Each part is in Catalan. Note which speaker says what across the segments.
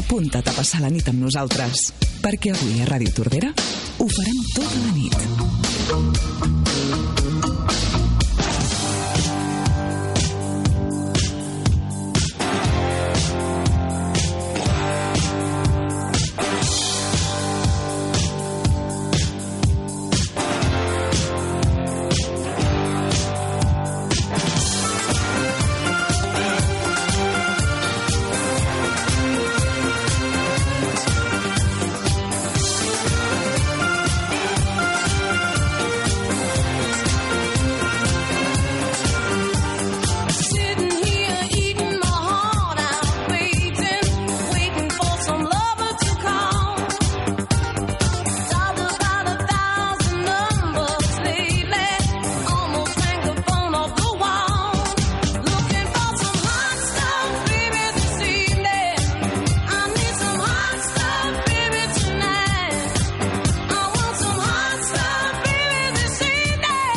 Speaker 1: Apunta't a passar la nit amb nosaltres, perquè avui a Ràdio Tordera ho farem tota la nit.
Speaker 2: Sitting here eating my heart out, waiting, waiting for some lover to call. Dialed about a thousand numbers lately, almost rang the phone off the wall. Looking for some hot stuff, baby, this evening. I need some hot stuff, baby, tonight. I want some hot stuff, baby, this evening.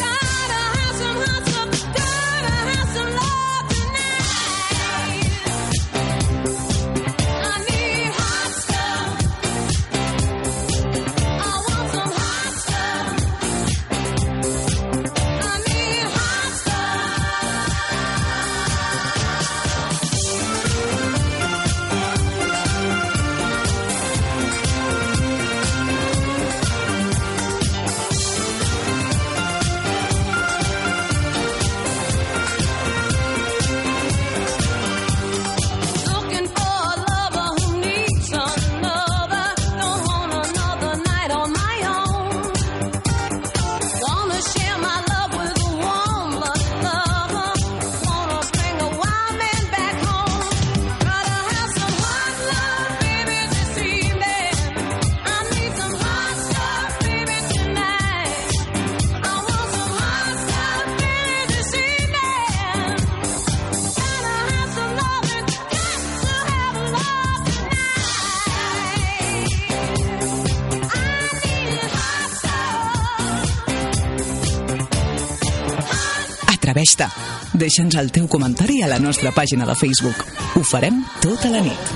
Speaker 2: Gotta have some hot stuff. Gotta have some love tonight. I need hot stuff. I want some hot stuff. I need hot stuff. Looking for a lover who needs another. Don't want another night on my own. Wanna share my love with a warm lover. Wanna bring a wild man back home. Gotta have some hot love, baby, this evening. I need some hot stuff, baby, tonight. I want some hot stuff, baby, this evening. Gotta have some loving, got to have love tonight. I need hot
Speaker 1: Atreveix-te. Deixa'ns el teu comentari a la nostra pàgina de Facebook. Ho farem tota la nit.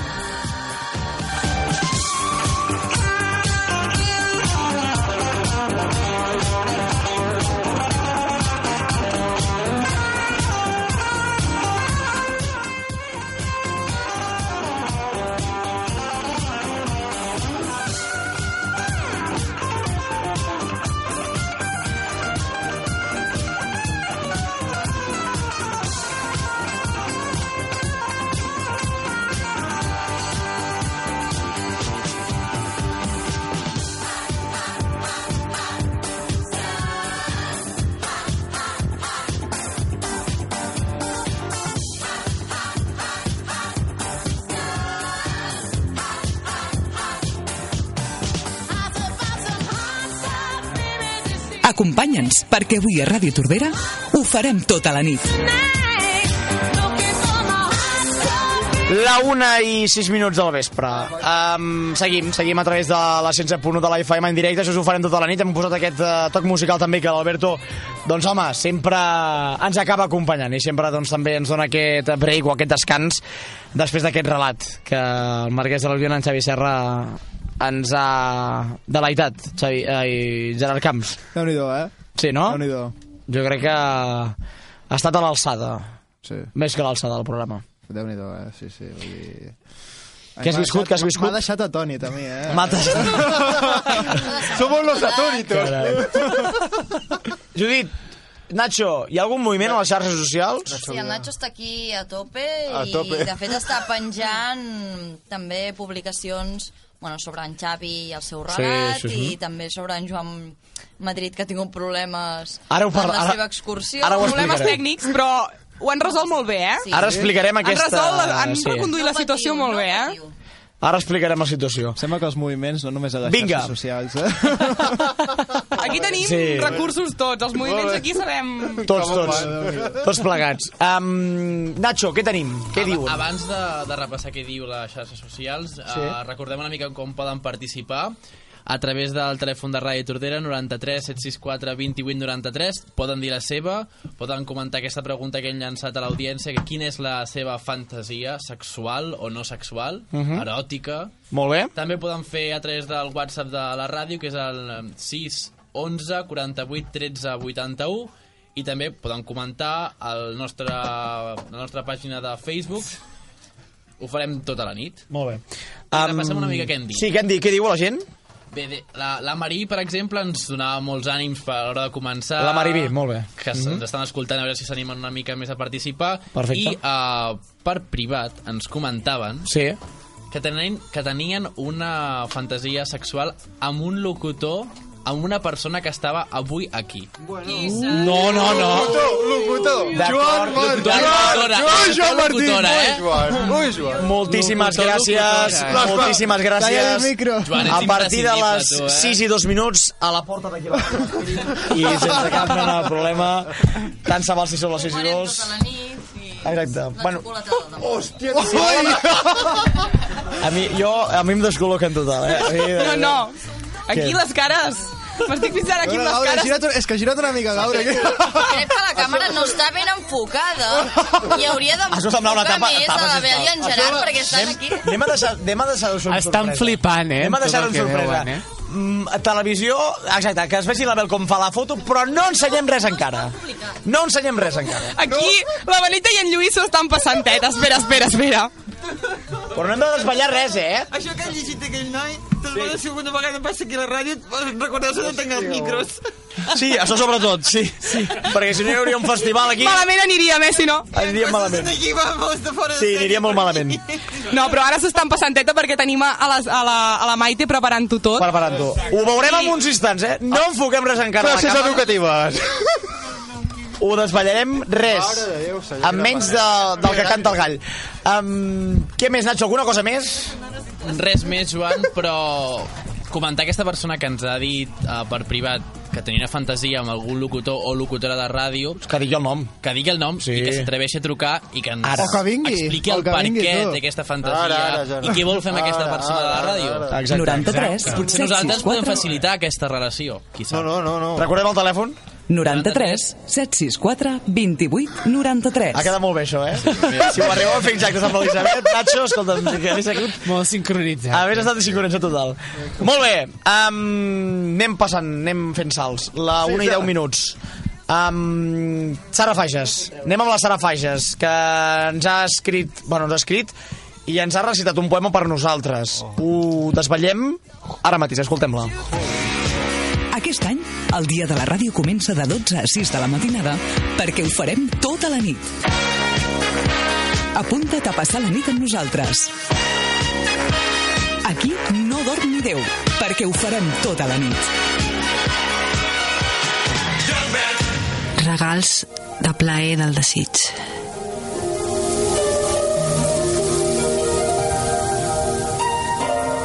Speaker 1: Acompanya'ns, perquè avui a Ràdio Tordera ho farem tota la nit.
Speaker 3: La una i sis minuts del vespre. Um, seguim, seguim a través de la 107.1 de la FM en directe, això us ho farem tota la nit. Hem posat aquest uh, toc musical també que l'Alberto, doncs home, sempre ens acaba acompanyant i sempre doncs, també ens dona aquest break o aquest descans després d'aquest relat que el marquès de l'Albion, en Xavi Serra, ens ha deleitat, Xavi, ai, Gerard Camps.
Speaker 4: déu nhi eh?
Speaker 3: Sí, no?
Speaker 4: déu nhi
Speaker 3: Jo crec que ha estat a l'alçada.
Speaker 4: Sí.
Speaker 3: Més que a l'alçada del programa.
Speaker 4: déu nhi eh? Sí, sí, vull dir...
Speaker 3: Què has
Speaker 4: M'ha
Speaker 3: viscut,
Speaker 4: deixat-
Speaker 3: què has viscut?
Speaker 4: M'ha deixat atònit a mi, eh?
Speaker 3: M'ha
Speaker 4: Somos los atónitos.
Speaker 3: Judit, Nacho, hi ha algun moviment a les xarxes socials?
Speaker 5: Sí, el Nacho està aquí a tope,
Speaker 3: A
Speaker 5: i
Speaker 3: tope.
Speaker 5: de fet està penjant també publicacions bueno, sobre en Xavi i el seu
Speaker 3: Sí,
Speaker 5: relat
Speaker 3: sí, sí.
Speaker 5: i també sobre en Joan Madrid que ha tingut problemes
Speaker 3: Ara ho parla-
Speaker 5: en la
Speaker 3: ara-
Speaker 5: seva excursió.
Speaker 3: ara ho
Speaker 6: Problemes
Speaker 3: explicarem.
Speaker 6: tècnics, però ho han resolt molt bé, eh?
Speaker 3: Sí. Ara explicarem aquesta-
Speaker 6: Han resolt, la- han
Speaker 3: sí.
Speaker 6: reconduït la situació molt bé, eh?
Speaker 3: Ara explicarem la situació.
Speaker 4: Sembla que els moviments no només a les
Speaker 3: Vinga.
Speaker 4: xarxes socials, eh?
Speaker 6: Aquí tenim
Speaker 3: Sí.
Speaker 6: recursos tots, els moviments aquí sabem...
Speaker 3: Tots, tots. Tots plegats. Um, Nacho, què tenim? Què
Speaker 7: Ab-
Speaker 3: diuen?
Speaker 7: Abans de, de repassar què diu les xarxes socials, sí.
Speaker 3: Sí.
Speaker 7: eh, recordem una mica com poden participar. a través del telèfon de Ràdio Tordera 93 764 28 93 poden dir la seva, poden comentar aquesta pregunta que hem llançat a l'audiència que quina és la seva fantasia sexual o no sexual,
Speaker 3: Mhm.
Speaker 7: eròtica
Speaker 3: Molt bé.
Speaker 7: també poden fer a través del WhatsApp de la ràdio, que és el eh, 6 11 48 13 81 i també poden comentar al nostre, la nostra pàgina de Facebook. Ho farem tota la nit.
Speaker 3: Molt bé.
Speaker 7: repassem una mica què hem dit.
Speaker 3: Sí, què hem dit? Què diu la gent?
Speaker 7: Bé, de, la, la Marí, per exemple, ens donava molts ànims per a l'hora de començar.
Speaker 3: La Mari B, molt bé.
Speaker 7: Que mm -hmm. ens estan escoltant, a veure si s'animen una mica més a participar.
Speaker 3: Mhm. Perfecte.
Speaker 7: I uh, per privat ens comentaven
Speaker 3: Sí.
Speaker 7: que tenien, que tenien una fantasia sexual amb un locutor, amb una persona que estava avui aquí.
Speaker 3: No, no, no.
Speaker 8: Locutor,
Speaker 3: Joan eh?
Speaker 7: Locutora,
Speaker 8: Joan
Speaker 7: locutora, eh?
Speaker 8: Joan, ui, Joan.
Speaker 3: Moltíssimes
Speaker 7: Locutor,
Speaker 3: gràcies.
Speaker 7: locutora,
Speaker 8: eh?
Speaker 3: Moltíssimes
Speaker 4: Talla el
Speaker 3: gràcies.
Speaker 4: micro.
Speaker 7: Joan,
Speaker 3: A
Speaker 7: ets
Speaker 3: partir de
Speaker 7: imprescindible,
Speaker 3: les
Speaker 7: tu, eh?
Speaker 3: 6 i 2 minuts a la porta d'aquí la I sense cap mena de problema, tant se val si són les 6 i
Speaker 5: Farem
Speaker 3: 2.
Speaker 5: tota la nit i...
Speaker 3: Exacte.
Speaker 5: La
Speaker 3: Bueno, Oh,
Speaker 5: xocolatada de demà.
Speaker 8: Hòstia,
Speaker 4: Oh,
Speaker 8: tio.
Speaker 3: a mi, jo, a mi em descol·loca en total, eh? A mi,
Speaker 6: No, no. Aquí
Speaker 3: Què?
Speaker 6: les cares. M'estic fixant aquí en les
Speaker 4: Gaura,
Speaker 6: cares.
Speaker 4: gira't, una- és que gira't una mica, Gaura.
Speaker 5: Crec que la càmera no està ben enfocada i hauria
Speaker 3: Això sembla una
Speaker 5: d'enfocar
Speaker 3: tapa-
Speaker 5: més
Speaker 3: tapa,
Speaker 5: a la Bel i en Gerard perquè estan
Speaker 3: Anem,
Speaker 5: aquí.
Speaker 3: anem a deixar, anem a deixar sorpresa.
Speaker 9: Estan flipant, eh,
Speaker 3: Anem a
Speaker 9: amb
Speaker 3: deixar
Speaker 9: tot el
Speaker 3: en
Speaker 9: que
Speaker 3: sorpresa.
Speaker 9: veuen, eh?
Speaker 3: Mm, televisió, exacte, que es vegi la Bel com fa la foto, però no ensenyem res encara. No ensenyem res encara.
Speaker 6: Aquí la Benita i en Lluís s'ho estan passant teta. Espera, espera, espera.
Speaker 3: Però no hem de desvetllar res, eh?
Speaker 10: Això que ha llegit aquell noi, te'l sí. la segona vegada passa aquí a la ràdio, recordeu-se de tancar els micros.
Speaker 3: Sí, això sobretot, sí. sí. Perquè si no hi hauria un festival aquí,
Speaker 6: Malament aniria més, si no.
Speaker 3: aniríem malament.
Speaker 10: Aquí vamos, de fora.
Speaker 3: Sí, aniria molt malament.
Speaker 6: No, però ara s'estan passant teta perquè tenim a, a, les, a, la, a la Maite preparant-ho tot.
Speaker 3: Preparant-ho. Ho veurem en uns instants, eh? No enfoquem res encara a la
Speaker 8: Classes
Speaker 3: càmera.
Speaker 8: educatives.
Speaker 3: Ho desvetllarem res.
Speaker 8: Mare de Déu, senyora.
Speaker 3: Amb menys de, del que canta el gall. Um, què més, Nacho? Alguna cosa més?
Speaker 7: Res més, Joan, però comentar aquesta persona que ens ha dit uh, per privat que tenia una fantasia amb algun locutor o locutora de ràdio,
Speaker 3: Que digui el nom.
Speaker 7: que digui el nom
Speaker 3: Sí.
Speaker 7: i que s'atreveixi a trucar i que ens
Speaker 3: Ara.
Speaker 4: oh, O que vingui,
Speaker 7: expliqui
Speaker 4: o
Speaker 7: el
Speaker 4: que
Speaker 7: per
Speaker 4: vingui,
Speaker 7: què
Speaker 4: tu.
Speaker 7: té aquesta fantasia
Speaker 8: Ara, ara, Gerard.
Speaker 7: i què vol fer amb aquesta
Speaker 8: Ara,
Speaker 7: persona de la
Speaker 8: ara,
Speaker 7: ràdio.
Speaker 8: ara.
Speaker 3: Exacte.
Speaker 1: 93
Speaker 7: Potser nosaltres
Speaker 1: 764
Speaker 7: podem facilitar aquesta relació, qui
Speaker 8: No,
Speaker 7: sap.
Speaker 8: no, no, no.
Speaker 3: Recordem el telèfon?
Speaker 1: 93 764 28 93
Speaker 3: Ha quedat molt bé, això, eh? Si ho arribeu a fer exactes amb l'Elisabet, Nacho, escolta'm, que hagués aquí...
Speaker 9: Molt sincronitzat.
Speaker 3: Hagués estat sincronització total. Molt bé, um, anem passant, anem fent salts. La
Speaker 8: Sí,
Speaker 3: 1 i
Speaker 8: ja.
Speaker 3: 10 minuts. Um, Sara Fages, anem amb la Sara Fages, que ens ha escrit, bueno, ens ha escrit i ens ha recitat un poema per nosaltres. Ho desvetllem ara mateix, escoltem-la.
Speaker 1: Aquest any, el dia de la ràdio comença de 12 a 6 de la matinada perquè ho farem tota la nit. Apunta't a passar la nit amb nosaltres. Aquí no dorm ni Déu, perquè ho farem tota la nit.
Speaker 11: regals de plaer del desig.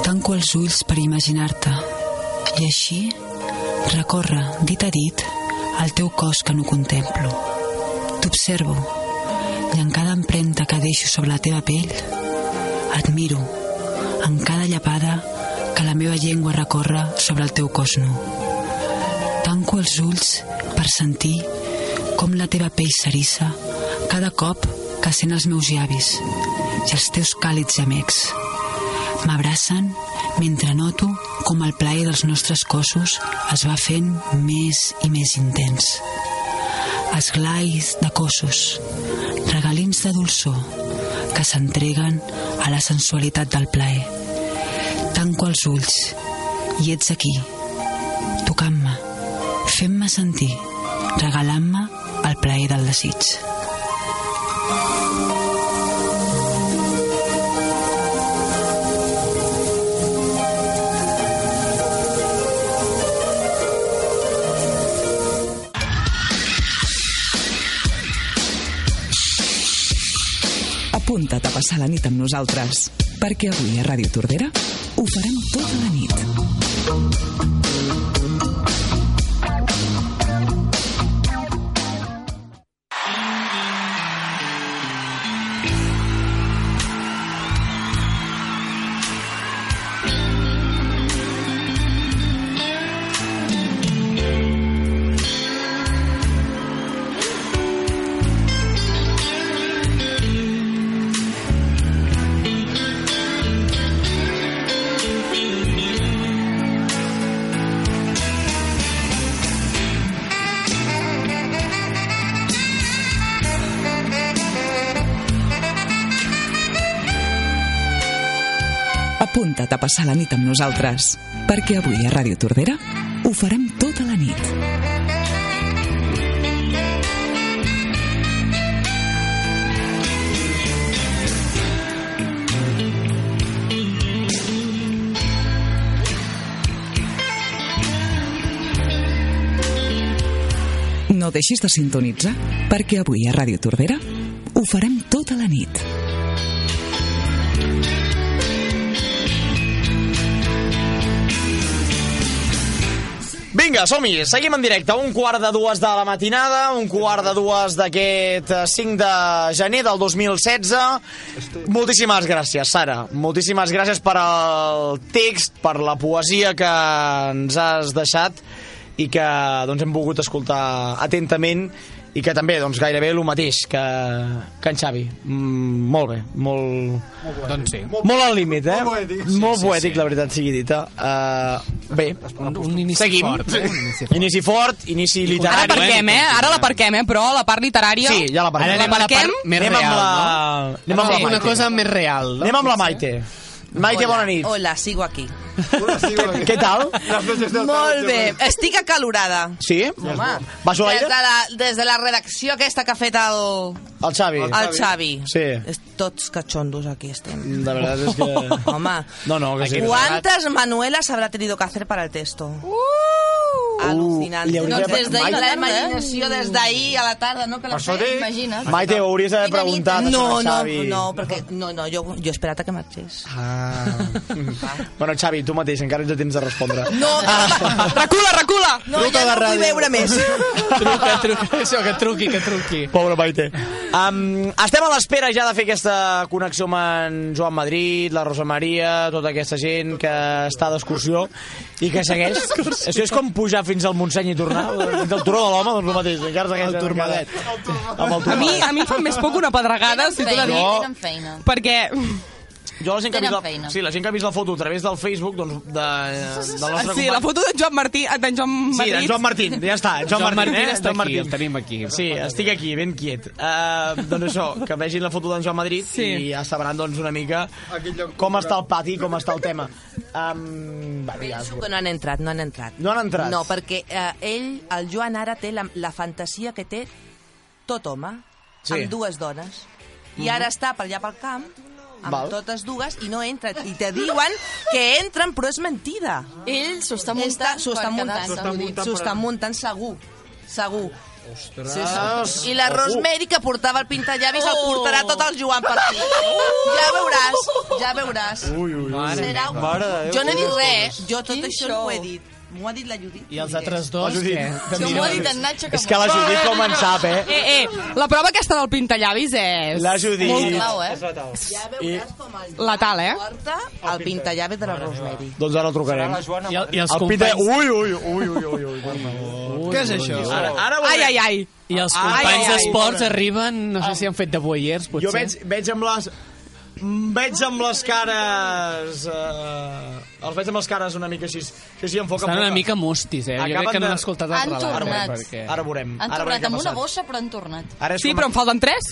Speaker 11: Tanco els ulls per imaginar-te i així recorre, dit a dit, el teu cos que no contemplo. T'observo i en cada empremta que deixo sobre la teva pell et miro en cada llapada que la meva llengua recorre sobre el teu cos nu. Tanco els ulls per sentir com la teva pell s'erissa cada cop que sent els meus llavis i els teus càlids gemecs. M'abracen mentre noto com el plaer dels nostres cossos es va fent més i més intens. Esglais de cossos, regalins de dolçor que s'entreguen a la sensualitat del plaer. Tanco els ulls i ets aquí, tocant-me, fent-me sentir, regalant-me el plaer del desig.
Speaker 1: Apunta't a passar la nit amb nosaltres, perquè avui a Ràdio Tordera ho farem tota la nit. Apunta't a passar la nit amb nosaltres, perquè avui a Ràdio Tordera ho farem tota la nit. No deixis de sintonitzar, perquè avui a Ràdio Tordera ho farem tota la nit.
Speaker 3: Vinga, som-hi, seguim en directe. Un quart de dues de la matinada, un quart de dues d'aquest eh, 5 de gener del 2016. Moltíssimes gràcies, Sara. Moltíssimes gràcies per el text, per la poesia que ens has deixat i que doncs, hem volgut escoltar atentament i que també doncs, gairebé el mateix que, que en Xavi. Mm, molt bé, molt,
Speaker 9: Doncs sí.
Speaker 3: molt al límit, eh? Molt poètic, sí, molt poètic sí, sí. la veritat sigui dita. Uh, bé, un, un inici seguim.
Speaker 9: fort, eh? Un
Speaker 3: inici fort. Inici fort, inici
Speaker 6: Ara
Speaker 3: literari.
Speaker 6: l'aparquem, eh? Ara l'aparquem, eh? Però la part literària...
Speaker 3: Sí, ja l'aparquem.
Speaker 6: La aparquem?
Speaker 9: més
Speaker 3: anem
Speaker 9: real,
Speaker 3: amb la...
Speaker 9: no?
Speaker 3: Anem amb la
Speaker 9: Sí, una
Speaker 3: Maite.
Speaker 9: cosa més real, no?
Speaker 3: Anem amb la Maite. Maite,
Speaker 12: Hola,
Speaker 3: bona nit.
Speaker 12: Hola, sigo aquí.
Speaker 3: Què tal?
Speaker 12: Molt bé, estic acalorada.
Speaker 3: Sí?
Speaker 12: Home,
Speaker 3: Vas
Speaker 12: des,
Speaker 3: a l'aire?
Speaker 12: de la, des de la redacció aquesta que ha fet el,
Speaker 3: El Xavi.
Speaker 12: el Xavi.
Speaker 3: Sí.
Speaker 12: És- Tots catxondos aquí estem.
Speaker 3: De veritat és que...
Speaker 12: Home.
Speaker 3: No, no, que sí.
Speaker 12: ¿Cuántas Manuelas habrá tenido que hacer para el texto? Alucinante.
Speaker 3: Uh, li hauria Doncs de- des d'ahir
Speaker 12: la
Speaker 3: a la tarda, eh?
Speaker 12: imaginació des d'ahir a la tarda, no? Que la
Speaker 3: Això dic.
Speaker 12: imagina't. eh?
Speaker 3: Maite, ho hauries d'haver preguntat, això,
Speaker 12: No,
Speaker 3: al
Speaker 12: no,
Speaker 3: Xavi.
Speaker 12: no, perquè... No, no, jo, jo he esperat a que marxés.
Speaker 3: Ah. bueno, Xavi, tu mateix, encara ets a temps de respondre.
Speaker 12: No, ah.
Speaker 6: recula, recula!
Speaker 12: No, ja no vull veure més.
Speaker 9: truca, truca, això, que truqui, que truqui.
Speaker 3: Pobre Maite. Um, estem a l'espera ja de fer aquesta connexió amb en Joan Madrid, la Rosa Maria, tota aquesta gent que està d'excursió i que segueix.
Speaker 9: D'excursió.
Speaker 3: Això és com pujar fins al Montseny i tornar, fins al turó de l'home, doncs el mateix. Encara segueix el turmadet. Amb el
Speaker 6: A mi,
Speaker 3: turmadet.
Speaker 6: a mi em fa més por que una pedregada, si t'ho de dir.
Speaker 3: Jo-
Speaker 5: Tenen feina.
Speaker 6: Perquè...
Speaker 3: Jo la gent, que ha vist
Speaker 6: Tenen
Speaker 3: la,
Speaker 6: feina.
Speaker 3: sí, la gent que ha vist la foto a través del Facebook doncs, de, del nostre
Speaker 6: Sí,
Speaker 3: company.
Speaker 6: la foto d'en Joan Martí, d'en Joan
Speaker 3: Sí,
Speaker 6: Madrid.
Speaker 3: en Joan Martín, ja està. en Joan,
Speaker 9: Joan
Speaker 3: Martín,
Speaker 9: Martín
Speaker 3: eh?
Speaker 9: està
Speaker 3: Joan
Speaker 9: aquí,
Speaker 3: Martín.
Speaker 9: el tenim aquí.
Speaker 3: Sí, estic aquí, ben quiet. Uh, doncs això, que vegin la foto d'en Joan Madrid sí. i ja sabran doncs, una mica com està el pati, com està el tema. Um, va, ja,
Speaker 12: Penso que no han entrat, no han entrat.
Speaker 3: No han entrat?
Speaker 12: No, perquè eh, ell, el Joan ara té la, la fantasia que té tot home,
Speaker 3: Sí.
Speaker 12: sí. amb dues dones. I
Speaker 3: Mhm.
Speaker 12: ara està per allà pel camp, amb
Speaker 3: Val.
Speaker 12: Val. totes dues, i no entra. I te diuen que entren, però és mentida. Ell s'ho està muntant. S'ho està
Speaker 5: per
Speaker 12: muntant,
Speaker 5: quedar-se, vull dir.
Speaker 12: s'ho està muntant segur. Segur.
Speaker 7: Ostres.
Speaker 12: Sí, sí. I la Rosemary, que portava el pintallavis,
Speaker 3: Oh.
Speaker 12: el portarà tot el Joan per aquí. Ja veuràs, ja veuràs.
Speaker 3: Ui, ui, ui.
Speaker 12: Serà un... Jo no he dit res, eh? jo tot això no ho he dit. M'ho ha dit la Judit.
Speaker 9: I els altres dos,
Speaker 3: La Judit.
Speaker 9: què?
Speaker 12: Jo m'ho ha dit en Nacho
Speaker 3: És que la Judit com en sap, eh?
Speaker 6: Eh, eh, la prova aquesta del pintallavis és...
Speaker 3: La Judit.
Speaker 6: Molt clau, eh?
Speaker 12: Ja veuràs com el
Speaker 6: La tal, eh?
Speaker 12: porta el pintallavis de la Rosemary.
Speaker 3: Doncs ara el trucarem.
Speaker 9: I, el- i els
Speaker 3: El Peter...
Speaker 9: companys...
Speaker 3: Ui, ui, ui, ui, ui, ui. Què és això? Ara, ara
Speaker 6: Ai, ai, ai.
Speaker 9: I els
Speaker 3: Ai,
Speaker 9: companys
Speaker 3: ai, Ah. ai.
Speaker 9: d'esports arriben, no sé si han fet de boiers, potser.
Speaker 3: Jo veig, veig amb les... mm, Veig amb les cares... Eh, els veig amb les cares una mica així. Sí, sí, en foc, en
Speaker 9: Estan una
Speaker 3: foc.
Speaker 9: mica mustis, eh? Jo crec
Speaker 3: Acaben
Speaker 9: que no
Speaker 3: de-
Speaker 9: han escoltat el
Speaker 5: Han
Speaker 9: relat. eh,
Speaker 5: tornat.
Speaker 9: Perquè...
Speaker 3: Ara veurem.
Speaker 5: Han
Speaker 3: ara veurem
Speaker 5: tornat
Speaker 3: què ha
Speaker 5: amb una
Speaker 3: passat.
Speaker 5: bossa, però han tornat.
Speaker 3: Ara és
Speaker 6: Sí,
Speaker 3: com-
Speaker 6: però en falten tres.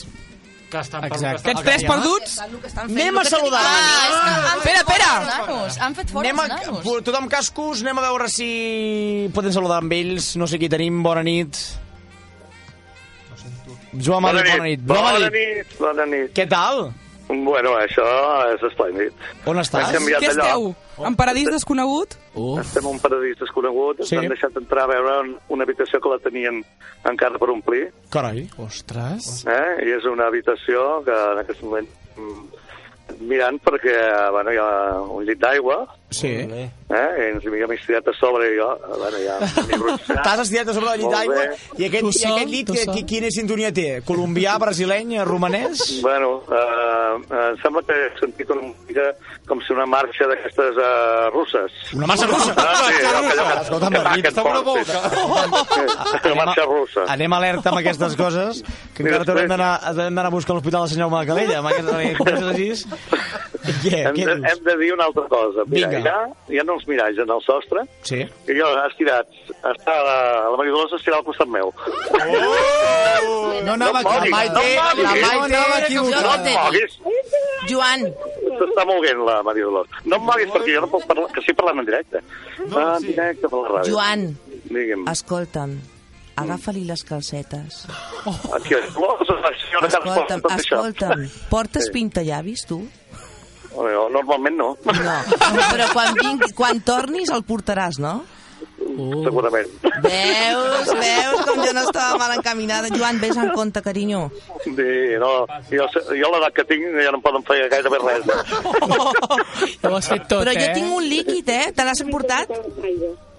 Speaker 7: Que estan
Speaker 9: Exacte.
Speaker 6: Aquests tres
Speaker 3: eh?
Speaker 6: perduts.
Speaker 3: Anem a saludar.
Speaker 5: Ah,
Speaker 6: Espera, espera.
Speaker 5: Nanos, han fet fora
Speaker 3: Anem a...
Speaker 5: els nanos.
Speaker 3: Tothom cascos, anem a veure si podem saludar amb ells. No sé qui tenim. Bona nit. Joan
Speaker 13: Bona
Speaker 3: Madrid,
Speaker 13: nit.
Speaker 3: bona nit. Joan
Speaker 13: Bona
Speaker 3: Madrid,
Speaker 13: nit. Bona nit.
Speaker 3: Què tal?
Speaker 13: Bueno, això és esplèndid.
Speaker 3: On estàs?
Speaker 13: Hem canviat
Speaker 6: Què
Speaker 13: de lloc.
Speaker 6: esteu? En paradís desconegut?
Speaker 13: Estem en un paradís desconegut, ens
Speaker 3: Sí.
Speaker 13: han deixat entrar a veure un- una habitació que la tenien encara per omplir,
Speaker 3: Carai. Ostres.
Speaker 13: eh? i és una habitació que en aquest moment mm, mirant perquè bueno, hi ha un llit d'aigua,
Speaker 3: Sí.
Speaker 13: eh? i ens havíem estirat a sobre i jo, bueno, ja m'hi bruixat.
Speaker 3: T'has estirat a sobre del llit
Speaker 13: Molt
Speaker 3: d'aigua
Speaker 13: bé.
Speaker 3: i aquest, i aquest llit, que, qui, quina sintonia té? Colombià, brasileny, romanès?
Speaker 13: Bueno, eh, eh, em sembla que he sentit una mica com si una marxa d'aquestes eh, russes.
Speaker 3: Una marxa russa?
Speaker 13: Ah, sí, allò que, allò que,
Speaker 3: Escolta'm, David,
Speaker 13: que,
Speaker 3: està una
Speaker 13: que, que, que, que, marxa russa.
Speaker 3: Anem alerta amb aquestes coses, que
Speaker 13: Mira,
Speaker 3: encara t'haurem
Speaker 13: després-
Speaker 3: d'anar t'haurem d'anar a buscar a l'hospital de Sant Jaume de Calella, amb aquestes coses així. I què?
Speaker 13: Hem
Speaker 3: Què
Speaker 13: de,
Speaker 3: dius?
Speaker 13: hem de dir una altra cosa. Mira,
Speaker 3: Vinga.
Speaker 13: hi ha, hi ha uns miralls en el sostre
Speaker 3: Sí.
Speaker 13: i jo he estirat, està la, la Maria Dolors estirada al costat meu.
Speaker 3: No anava
Speaker 13: No
Speaker 3: aquí. La
Speaker 13: moguis,
Speaker 3: Maite,
Speaker 13: no moguis.
Speaker 3: la
Speaker 13: No
Speaker 3: Maite...
Speaker 13: moguis.
Speaker 12: Joan,
Speaker 13: s'està moguent la Maria Dolors. No em moguis perquè jo no puc parlar, que sí parlant en directe. No, en directe per la ràdio.
Speaker 12: Joan,
Speaker 13: Digue'm.
Speaker 12: escolta'm, agafa-li les calcetes.
Speaker 13: Aquí, vols, això, que has
Speaker 12: Escolta'm,
Speaker 13: portat tot això?
Speaker 12: escolta'm, portes
Speaker 13: Sí.
Speaker 12: pintallavis, tu?
Speaker 13: Bueno, normalment no. No.
Speaker 12: Però quan, vingui, quan tornis el portaràs, no?
Speaker 13: Segurament.
Speaker 12: Veus, veus com jo no estava mal encaminada. Joan, vés en compte, carinyo.
Speaker 13: Dir, no, jo, jo l'edat que tinc ja no em poden fer gairebé res.
Speaker 9: Ho has fet
Speaker 12: Però jo tinc un líquid, eh? Te l'has emportat?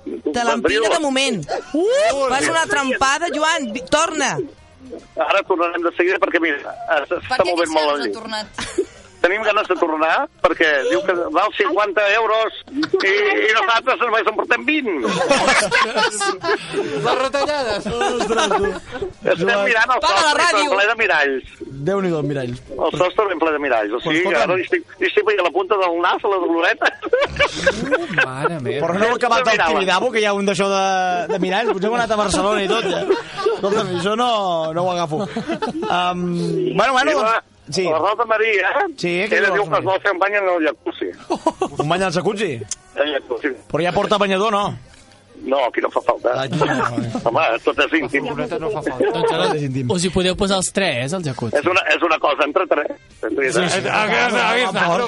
Speaker 12: Te l'empina de moment. Uh, fas una trampada, Joan. Vi- Torna.
Speaker 13: Ara tornarem de seguida perquè, mira, es- s'està movent molt el llit.
Speaker 5: tornat.
Speaker 13: Tenim ganes de tornar perquè diu que val 50 euros i, i nosaltres només en portem 20.
Speaker 8: Les retallades.
Speaker 13: Estem mirant el
Speaker 8: Paga la
Speaker 13: sostre
Speaker 8: ràdio.
Speaker 13: ple de miralls.
Speaker 3: Déu-n'hi-do, mirall.
Speaker 13: El sostre ben ple de miralls. O sigui,
Speaker 3: escolta'm.
Speaker 13: ara hi estic, hi estic veient la punta del nas a la Doloreta.
Speaker 9: Mare meva.
Speaker 3: Però no heu acabat el
Speaker 13: Mirava.
Speaker 3: Tibidabo, que hi ha un d'això de, de miralls. Potser heu anat a Barcelona i tot. Eh? Escolta'm, això no, no ho agafo. Um, bueno, bueno, doncs... Sí.
Speaker 13: La Rosa Maria,
Speaker 3: Sí, què
Speaker 13: ella
Speaker 3: diu
Speaker 13: diu
Speaker 3: la Rosa
Speaker 13: que es vol fer un bany en el jacuzzi.
Speaker 3: Un bany al jacuzzi.
Speaker 13: El jacuzzi.
Speaker 3: Però ja porta banyador, no?
Speaker 13: No, aquí no fa falta. Home, tot és íntim. No fa falta.
Speaker 9: Doncs ara us hi podeu posar els tres, al jacuzzi.
Speaker 13: És una, és una cosa entre tres. Entre tres.
Speaker 9: Sí, sí. Ah, que- que- que-
Speaker 3: Fort,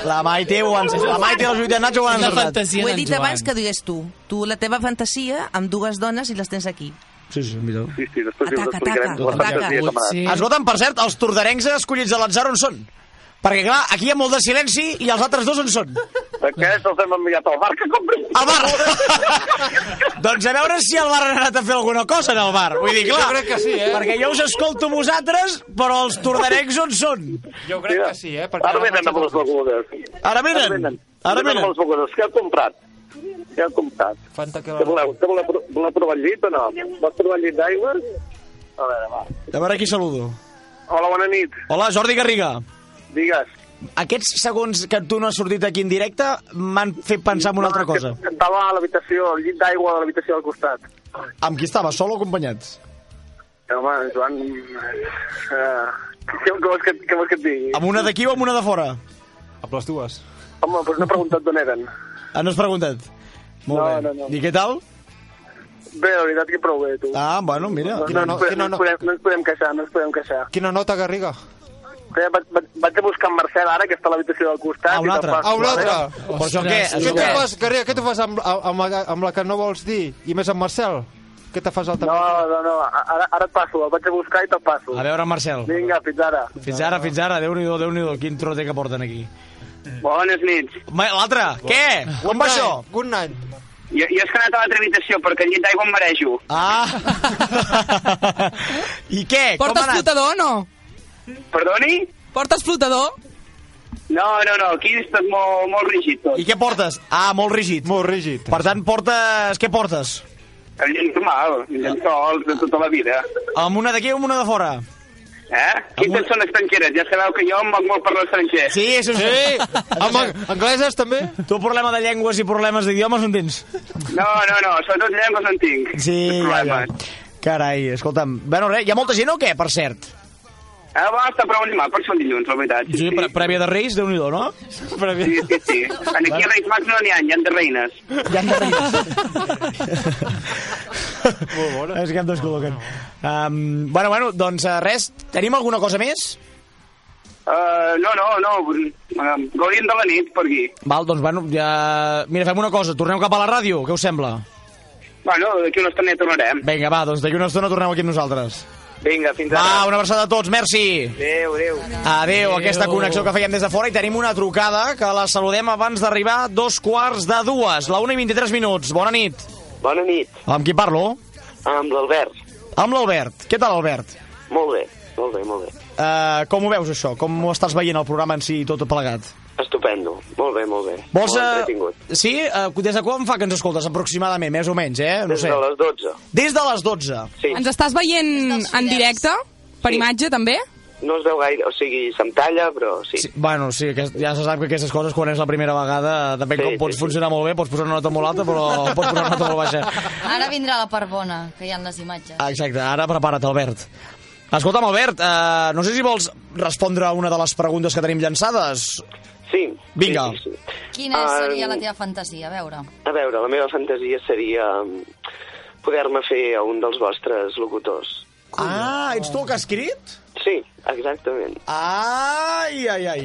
Speaker 9: que-
Speaker 3: La Maite ho han... Doncs La Maite i la Judit Nacho ho han encertat.
Speaker 12: Ho he dit abans que digués tu. Tu, la teva fantasia, amb dues dones i les tens aquí.
Speaker 3: Sí, sí, mireu.
Speaker 13: Sí, sí, després
Speaker 12: Ataca, us explicarem ataca, les ataca. fantasies que m'ha anat. Sí.
Speaker 3: Escolta'm, per cert, els tordarencs escollits a l'atzar on són? Perquè, clar, aquí hi ha molt de silenci i els altres dos on són?
Speaker 13: Aquests els hem enviat al bar que compri.
Speaker 3: Al bar! doncs a veure si el bar ha anat a fer alguna cosa en el bar. Vull dir, clar,
Speaker 13: Jo crec que sí, eh?
Speaker 3: perquè jo us escolto a vosaltres, però els tordarencs on són?
Speaker 13: Jo crec que sí, eh? Perquè ara venen amb les begudes.
Speaker 3: Ara venen? Ara
Speaker 13: venen. amb les begudes. Què ha comprat? Què ha comprat? Fanta que... voleu? Que voleu, pro- voleu provar el llit o no? Vols provar el llit d'aigua? A veure, va.
Speaker 3: A veure qui saludo.
Speaker 13: Hola, bona nit.
Speaker 3: Hola, Jordi Garriga.
Speaker 13: Digues.
Speaker 3: Aquests segons que tu no has sortit aquí en directe m'han fet pensar en una altra cosa.
Speaker 13: Ah, Estava a l'habitació, al llit d'aigua de l'habitació del costat.
Speaker 3: Amb qui estava, sol o acompanyats?
Speaker 13: Home, Joan... Eh, què, què, vols que, què vols que et digui?
Speaker 3: Amb una d'aquí o amb una de fora?
Speaker 13: Amb les dues. Home, però no he preguntat d'on eren.
Speaker 3: Ah, no has preguntat? Molt
Speaker 13: No,
Speaker 3: bé.
Speaker 13: no, no.
Speaker 3: I què tal?
Speaker 13: Bé, la veritat que prou bé, tu.
Speaker 3: Ah, bueno, mira.
Speaker 13: No, no, no, no, no, ens podem, no ens podem queixar, no ens podem queixar.
Speaker 8: Quina nota, Garriga?
Speaker 13: Vaig, vaig, vaig a buscar en Marcel ara, que està a l'habitació del costat.
Speaker 8: A un altre. A un altre.
Speaker 3: Però això què?
Speaker 8: Què
Speaker 3: Això
Speaker 8: te
Speaker 3: què?
Speaker 8: fas, Garriga? Què te fas amb, amb, la, amb la que no vols dir? I més amb Marcel? Què te fas altra?
Speaker 13: No, no, no, ara, ara et passo, el vaig a buscar i te'l passo.
Speaker 3: A veure, Marcel.
Speaker 13: Vinga, fins ara.
Speaker 3: Fins ara, fins ara. Déu-n'hi-do, Déu-n'hi-do. Quin trote que porten aquí.
Speaker 14: Bones nits.
Speaker 3: Ma- L'altre, què? Com va això?
Speaker 8: Good night.
Speaker 14: Jo, jo és que he anat a l'altra habitació perquè el llit d'aigua em marejo.
Speaker 3: Ah! I què?
Speaker 6: Portes flotador o no?
Speaker 14: Perdoni?
Speaker 6: Portes flotador?
Speaker 14: No, no, no, aquí és tot molt, molt rígid tot.
Speaker 3: I què portes? Ah, molt rígid.
Speaker 8: Molt rígid.
Speaker 3: Per tant, portes... Què portes?
Speaker 14: El llit normal, el llençol de tota la vida.
Speaker 3: Amb una d'aquí o amb una de fora?
Speaker 14: Eh? Quines són estrangeres? Ja sabeu que jo em moc molt per l'estranger.
Speaker 3: Sí, és un...
Speaker 8: angleses també?
Speaker 3: Tu problema de llengües i problemes d'idiomes on tens?
Speaker 14: No, no, no, sobretot llengües en tinc.
Speaker 3: Sí, ja, ja. Carai, escolta'm. Bueno, res, hi ha molta gent o què, per cert?
Speaker 14: Ah, va, està prou animat per ser un dilluns, la veritat.
Speaker 3: Sí, pre prèvia de Reis, déu nhi no? Prèvia...
Speaker 14: Sí, sí, sí. En aquí a Reis Mags no n'hi ha, hi ha de reines.
Speaker 3: Hi ha de reines. Molt bona. És que em descol·loquen. Um, bueno, bueno, doncs eh, res, tenim alguna cosa més?
Speaker 14: Uh, no, no, no, eh, gaudim de la nit per aquí.
Speaker 3: Val, doncs bueno, ja... Mira, fem una cosa, tornem cap a la ràdio, què us sembla?
Speaker 14: Bueno, d'aquí una estona ja tornarem.
Speaker 3: Vinga, va, doncs d'aquí una estona tornem aquí amb nosaltres.
Speaker 14: Vinga, fins ara.
Speaker 3: Va, una abraçada a tots, merci!
Speaker 14: Adéu, adéu.
Speaker 3: Adéu, aquesta connexió que fèiem des de fora i tenim una trucada que la saludem abans d'arribar dos quarts de dues, la 1 i 23 minuts. Bona nit.
Speaker 15: Bona nit,
Speaker 3: Amb qui parlo?
Speaker 15: amb l'Albert.
Speaker 3: Amb l'Albert. Què tal, Albert?
Speaker 15: Molt bé, molt bé, molt bé.
Speaker 3: Uh, com ho veus, això? Com ho estàs veient, el programa en si i tot plegat?
Speaker 15: Estupendo, molt bé, molt bé.
Speaker 3: Vols...
Speaker 15: molt
Speaker 3: Uh,
Speaker 15: entretingut.
Speaker 3: sí? Uh, des de quan fa que ens escoltes, aproximadament, més o menys, eh? No
Speaker 15: Des
Speaker 3: sé.
Speaker 15: de les 12.
Speaker 3: Des de les 12.
Speaker 15: Sí,
Speaker 6: Ens estàs veient en directe? Per imatge, també?
Speaker 15: no es veu gaire, o sigui, se'm talla, però sí. sí.
Speaker 3: Bueno, sí, que ja se sap que aquestes coses, quan és la primera vegada, depèn sí, com pots sí, funcionar molt bé, pots posar una nota molt alta, però pots posar una nota molt baixa.
Speaker 5: Ara vindrà la part bona, que hi ha les imatges.
Speaker 3: Exacte, ara prepara't, Albert. Escolta'm, Albert, eh, no sé si vols respondre a una de les preguntes que tenim llançades.
Speaker 15: Sí.
Speaker 3: Vinga.
Speaker 15: Sí, sí, sí.
Speaker 5: Quina
Speaker 15: Ah,
Speaker 5: seria la teva fantasia? A veure.
Speaker 15: A veure, la meva fantasia seria mm, poder-me fer a un dels vostres locutors.
Speaker 3: Ah, ets tu el que has escrit?
Speaker 15: Sí, exactament.
Speaker 3: Ai, ai, ai.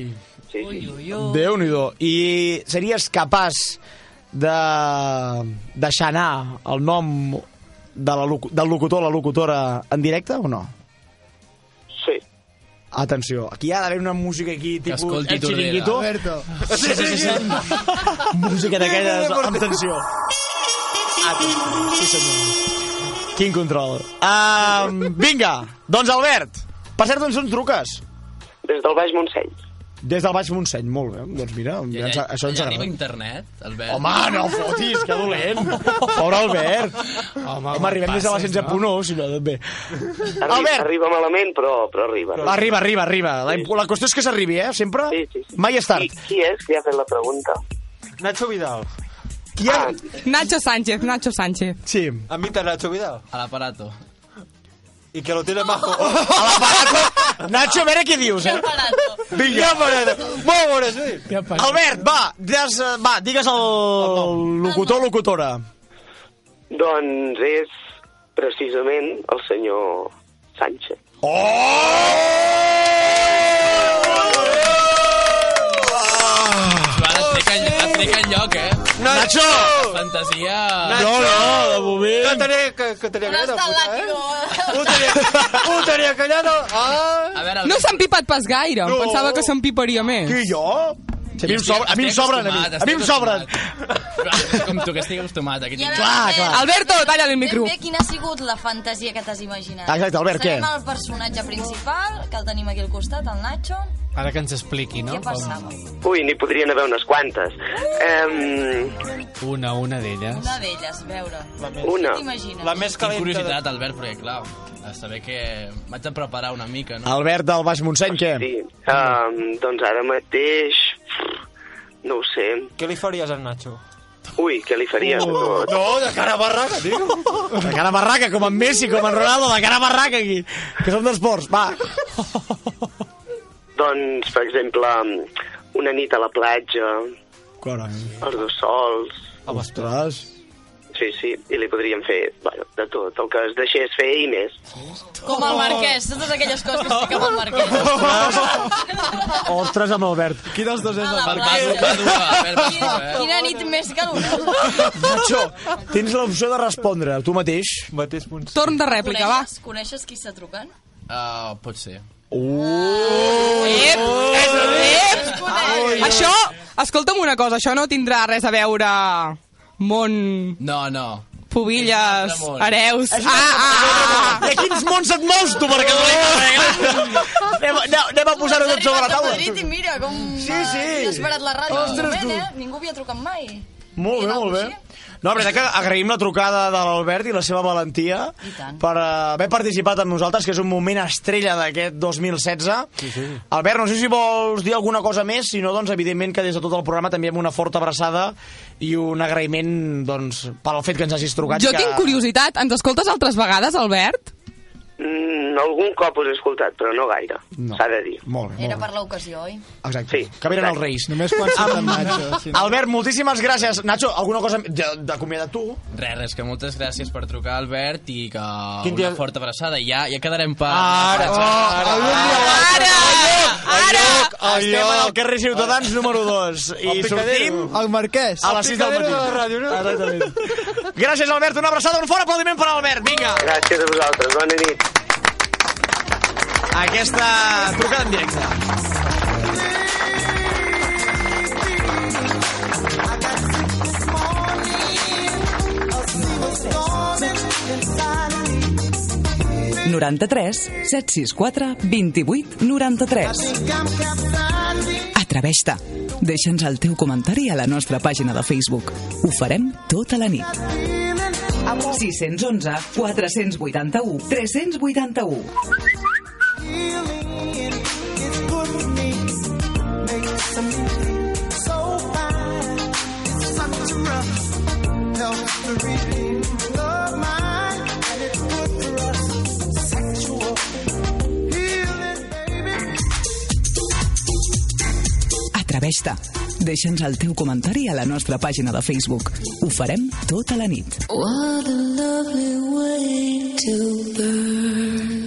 Speaker 15: Sí, sí. Ui,
Speaker 3: Déu-n'hi-do. I series capaç de deixar anar el nom de la, locu- del locutor o la locutora en directe o no?
Speaker 15: Sí.
Speaker 3: Atenció, aquí hi ha d'haver una música aquí tipus
Speaker 7: escolti
Speaker 3: El
Speaker 7: Tordera.
Speaker 3: Chiringuito.
Speaker 4: Alberto.
Speaker 3: Sí, sí, sí, sí. música d'aquelles amb tensió. Atenció. Ah, Sí, senyor. Quin control. Um, vinga, doncs Albert, per cert, doncs on truques?
Speaker 15: Des del Baix Montseny.
Speaker 3: Des del Baix Montseny, molt bé. Doncs mira, ja, ens, això ens
Speaker 7: Ja arriba
Speaker 3: agrada.
Speaker 7: internet, Albert.
Speaker 3: Home, no fotis, que dolent. Pobre Albert. Home, Home arribem des de la
Speaker 7: passes,
Speaker 3: 16.1, no? si no, doncs també.
Speaker 15: Arriba,
Speaker 3: Albert.
Speaker 15: arriba malament, però, però arriba. no?
Speaker 3: Arriba, arriba, arriba. La, la qüestió és que s'arribi, eh? Sempre.
Speaker 15: Sí, sí, sí.
Speaker 3: Mai és tard.
Speaker 15: Qui, qui és que ha fet la pregunta? Nacho Vidal.
Speaker 3: Qui ha...
Speaker 6: Nacho Sánchez, Nacho Sánchez.
Speaker 3: Sí.
Speaker 8: ¿Invita a Nacho Vidal?
Speaker 7: Al aparato.
Speaker 8: Y que lo tiene majo.
Speaker 3: Nacho, a veure què dius, eh? Vinga.
Speaker 8: Ja veuré, molt veuré, sí.
Speaker 3: Albert, va, des,
Speaker 8: eh,
Speaker 3: va digues el locutor o locutora.
Speaker 15: Doncs és precisament el senyor Sánchez.
Speaker 3: Oh!
Speaker 7: Ah. Joan, et trec, en, et trec en lloc, eh?
Speaker 3: Nacho!
Speaker 7: Fantasia...
Speaker 3: No, no, de moment...
Speaker 8: Que tenia, que, que tenia
Speaker 5: No
Speaker 8: callada, puta,
Speaker 5: està
Speaker 8: eh?
Speaker 5: l'àquilo.
Speaker 8: Ho tenia, ho tenia callada. Ah.
Speaker 7: A veure,
Speaker 6: No s'han pipat pas gaire, em
Speaker 8: No.
Speaker 6: pensava que s'empiparia més.
Speaker 3: Qui, jo? Si a mi em sobra- a mi em sobren, a mi. A mi em sobren.
Speaker 7: Com tu, que estic acostumat. Aquí
Speaker 5: I
Speaker 7: tinc...
Speaker 5: ara Clar, clar.
Speaker 6: Alberto, talla el micro.
Speaker 5: Ben bé, quina ha sigut la fantasia que t'has
Speaker 3: Ah,
Speaker 5: imaginat?
Speaker 9: Exacte, Albert,
Speaker 5: Serem
Speaker 9: què?
Speaker 5: el personatge principal, que el tenim aquí al costat, el Nacho.
Speaker 9: Ara que ens expliqui, no?
Speaker 5: Què passava?
Speaker 15: Ui, n'hi podrien haver unes quantes. Um,
Speaker 9: Una, una d'elles.
Speaker 5: Una d'elles, veure.
Speaker 15: Una.
Speaker 5: Què t'imagines?
Speaker 7: Tinc curiositat, Albert, perquè, clar, a saber que m'haig de preparar una mica, no?
Speaker 3: Albert del Baix Montseny, què?
Speaker 15: um, doncs ara mateix... No ho sé.
Speaker 8: Què li faries al Nacho?
Speaker 15: Ui, què li faries?
Speaker 3: Uh,
Speaker 15: Uh,
Speaker 8: no, de cara a barraca, tio.
Speaker 3: De cara a barraca, com en Messi, com en Ronaldo, de cara a barraca aquí, que som d'esports, va.
Speaker 15: Doncs, per exemple, una nit a la platja,
Speaker 3: Carai.
Speaker 15: els dos sols...
Speaker 3: Ostres.
Speaker 15: Sí, sí, i li podríem fer bueno, de tot, el que es deixés fer i més.
Speaker 5: Com el Marquès, totes aquelles coses que es fica amb el Marquès.
Speaker 3: Ostres amb Albert. Qui dels dos és
Speaker 5: A la
Speaker 3: el
Speaker 5: platja. Quina,
Speaker 3: Marquès?
Speaker 5: quina nit més calorosa.
Speaker 3: Nacho, tens l'opció de respondre, tu mateix.
Speaker 8: Mateix punt.
Speaker 6: Torn de rèplica, va.
Speaker 5: Coneixes, coneixes qui està trucant?
Speaker 3: Ah,
Speaker 7: Uh, pot ser.
Speaker 3: Uh!
Speaker 6: Ep, ep, ep.
Speaker 5: Ai,
Speaker 6: Això, escolta'm una cosa, això no tindrà res a veure món...
Speaker 7: No, no.
Speaker 6: Pubilles,
Speaker 7: És un altre món.
Speaker 6: hereus...
Speaker 7: És un
Speaker 6: Ah, ah, ah, Eh.
Speaker 3: I a quins mons et mous, tu, eh? perquè no anem, a- no, anem a posar-ho tot sobre la taula.
Speaker 5: Madrid i mira com sí,
Speaker 3: sí.
Speaker 5: has parat la ràdio
Speaker 3: Ostres,
Speaker 5: Ostres, moment,
Speaker 3: tu.
Speaker 5: eh? Ningú havia trucat mai.
Speaker 3: Molt bé, molt bé. No, la veritat que agraïm la trucada de l'Albert i la seva valentia per eh, haver participat amb nosaltres, que és un moment estrella d'aquest 2016. Sí, sí. Albert, no sé si vols dir alguna cosa més, si no, doncs, evidentment que des de tot el programa t'enviem una forta abraçada i un agraïment, doncs, pel fet que ens hagis trucat.
Speaker 6: Jo
Speaker 3: que...
Speaker 6: tinc curiositat, ens escoltes altres vegades, Albert?
Speaker 15: Mm, algun cop us he escoltat, però no gaire,
Speaker 3: No.
Speaker 15: s'ha de dir.
Speaker 3: Molt bé,
Speaker 5: Era
Speaker 3: molt bé.
Speaker 5: per l'ocasió, oi?
Speaker 3: Exacte. Sí, que venen els reis.
Speaker 4: Només quan surt en Nacho, si no.
Speaker 3: Albert, moltíssimes gràcies. Nacho, alguna cosa d'acomiadar tu?
Speaker 7: Res, res, que moltes gràcies per trucar, Albert, i que
Speaker 8: Quin
Speaker 7: una
Speaker 8: dia-
Speaker 7: forta abraçada. Ja, ja quedarem per...
Speaker 8: Ara,
Speaker 3: Oh,
Speaker 7: per-
Speaker 8: ara,
Speaker 7: per-
Speaker 3: Estem en el carrer Ciutadans número 2 i
Speaker 4: El picadero.
Speaker 3: sortim
Speaker 4: El Marquès.
Speaker 3: a les 6 del matí. Exactament. Gràcies, Albert. Una abraçada, un fort aplaudiment per Albert. Vinga.
Speaker 15: Gràcies a vosaltres, bona nit.
Speaker 3: Aquesta trucada en directe.
Speaker 2: Inside of me.
Speaker 1: 93 764 28 93.
Speaker 2: Think I'm capsizing.
Speaker 1: Atreveix-te. Deixa'ns el teu comentari a la nostra pàgina de Facebook. Ho farem tota la nit. 611 481 381
Speaker 2: feeling it's good for me. Makes me so fine. It's such a rough health to redeem. Love mine, and it's good for us. Sexual
Speaker 1: Atreveix-te. Deixa'ns el teu comentari a la nostra pàgina de Facebook. Ho farem tota la nit.
Speaker 2: What a lovely way to burn.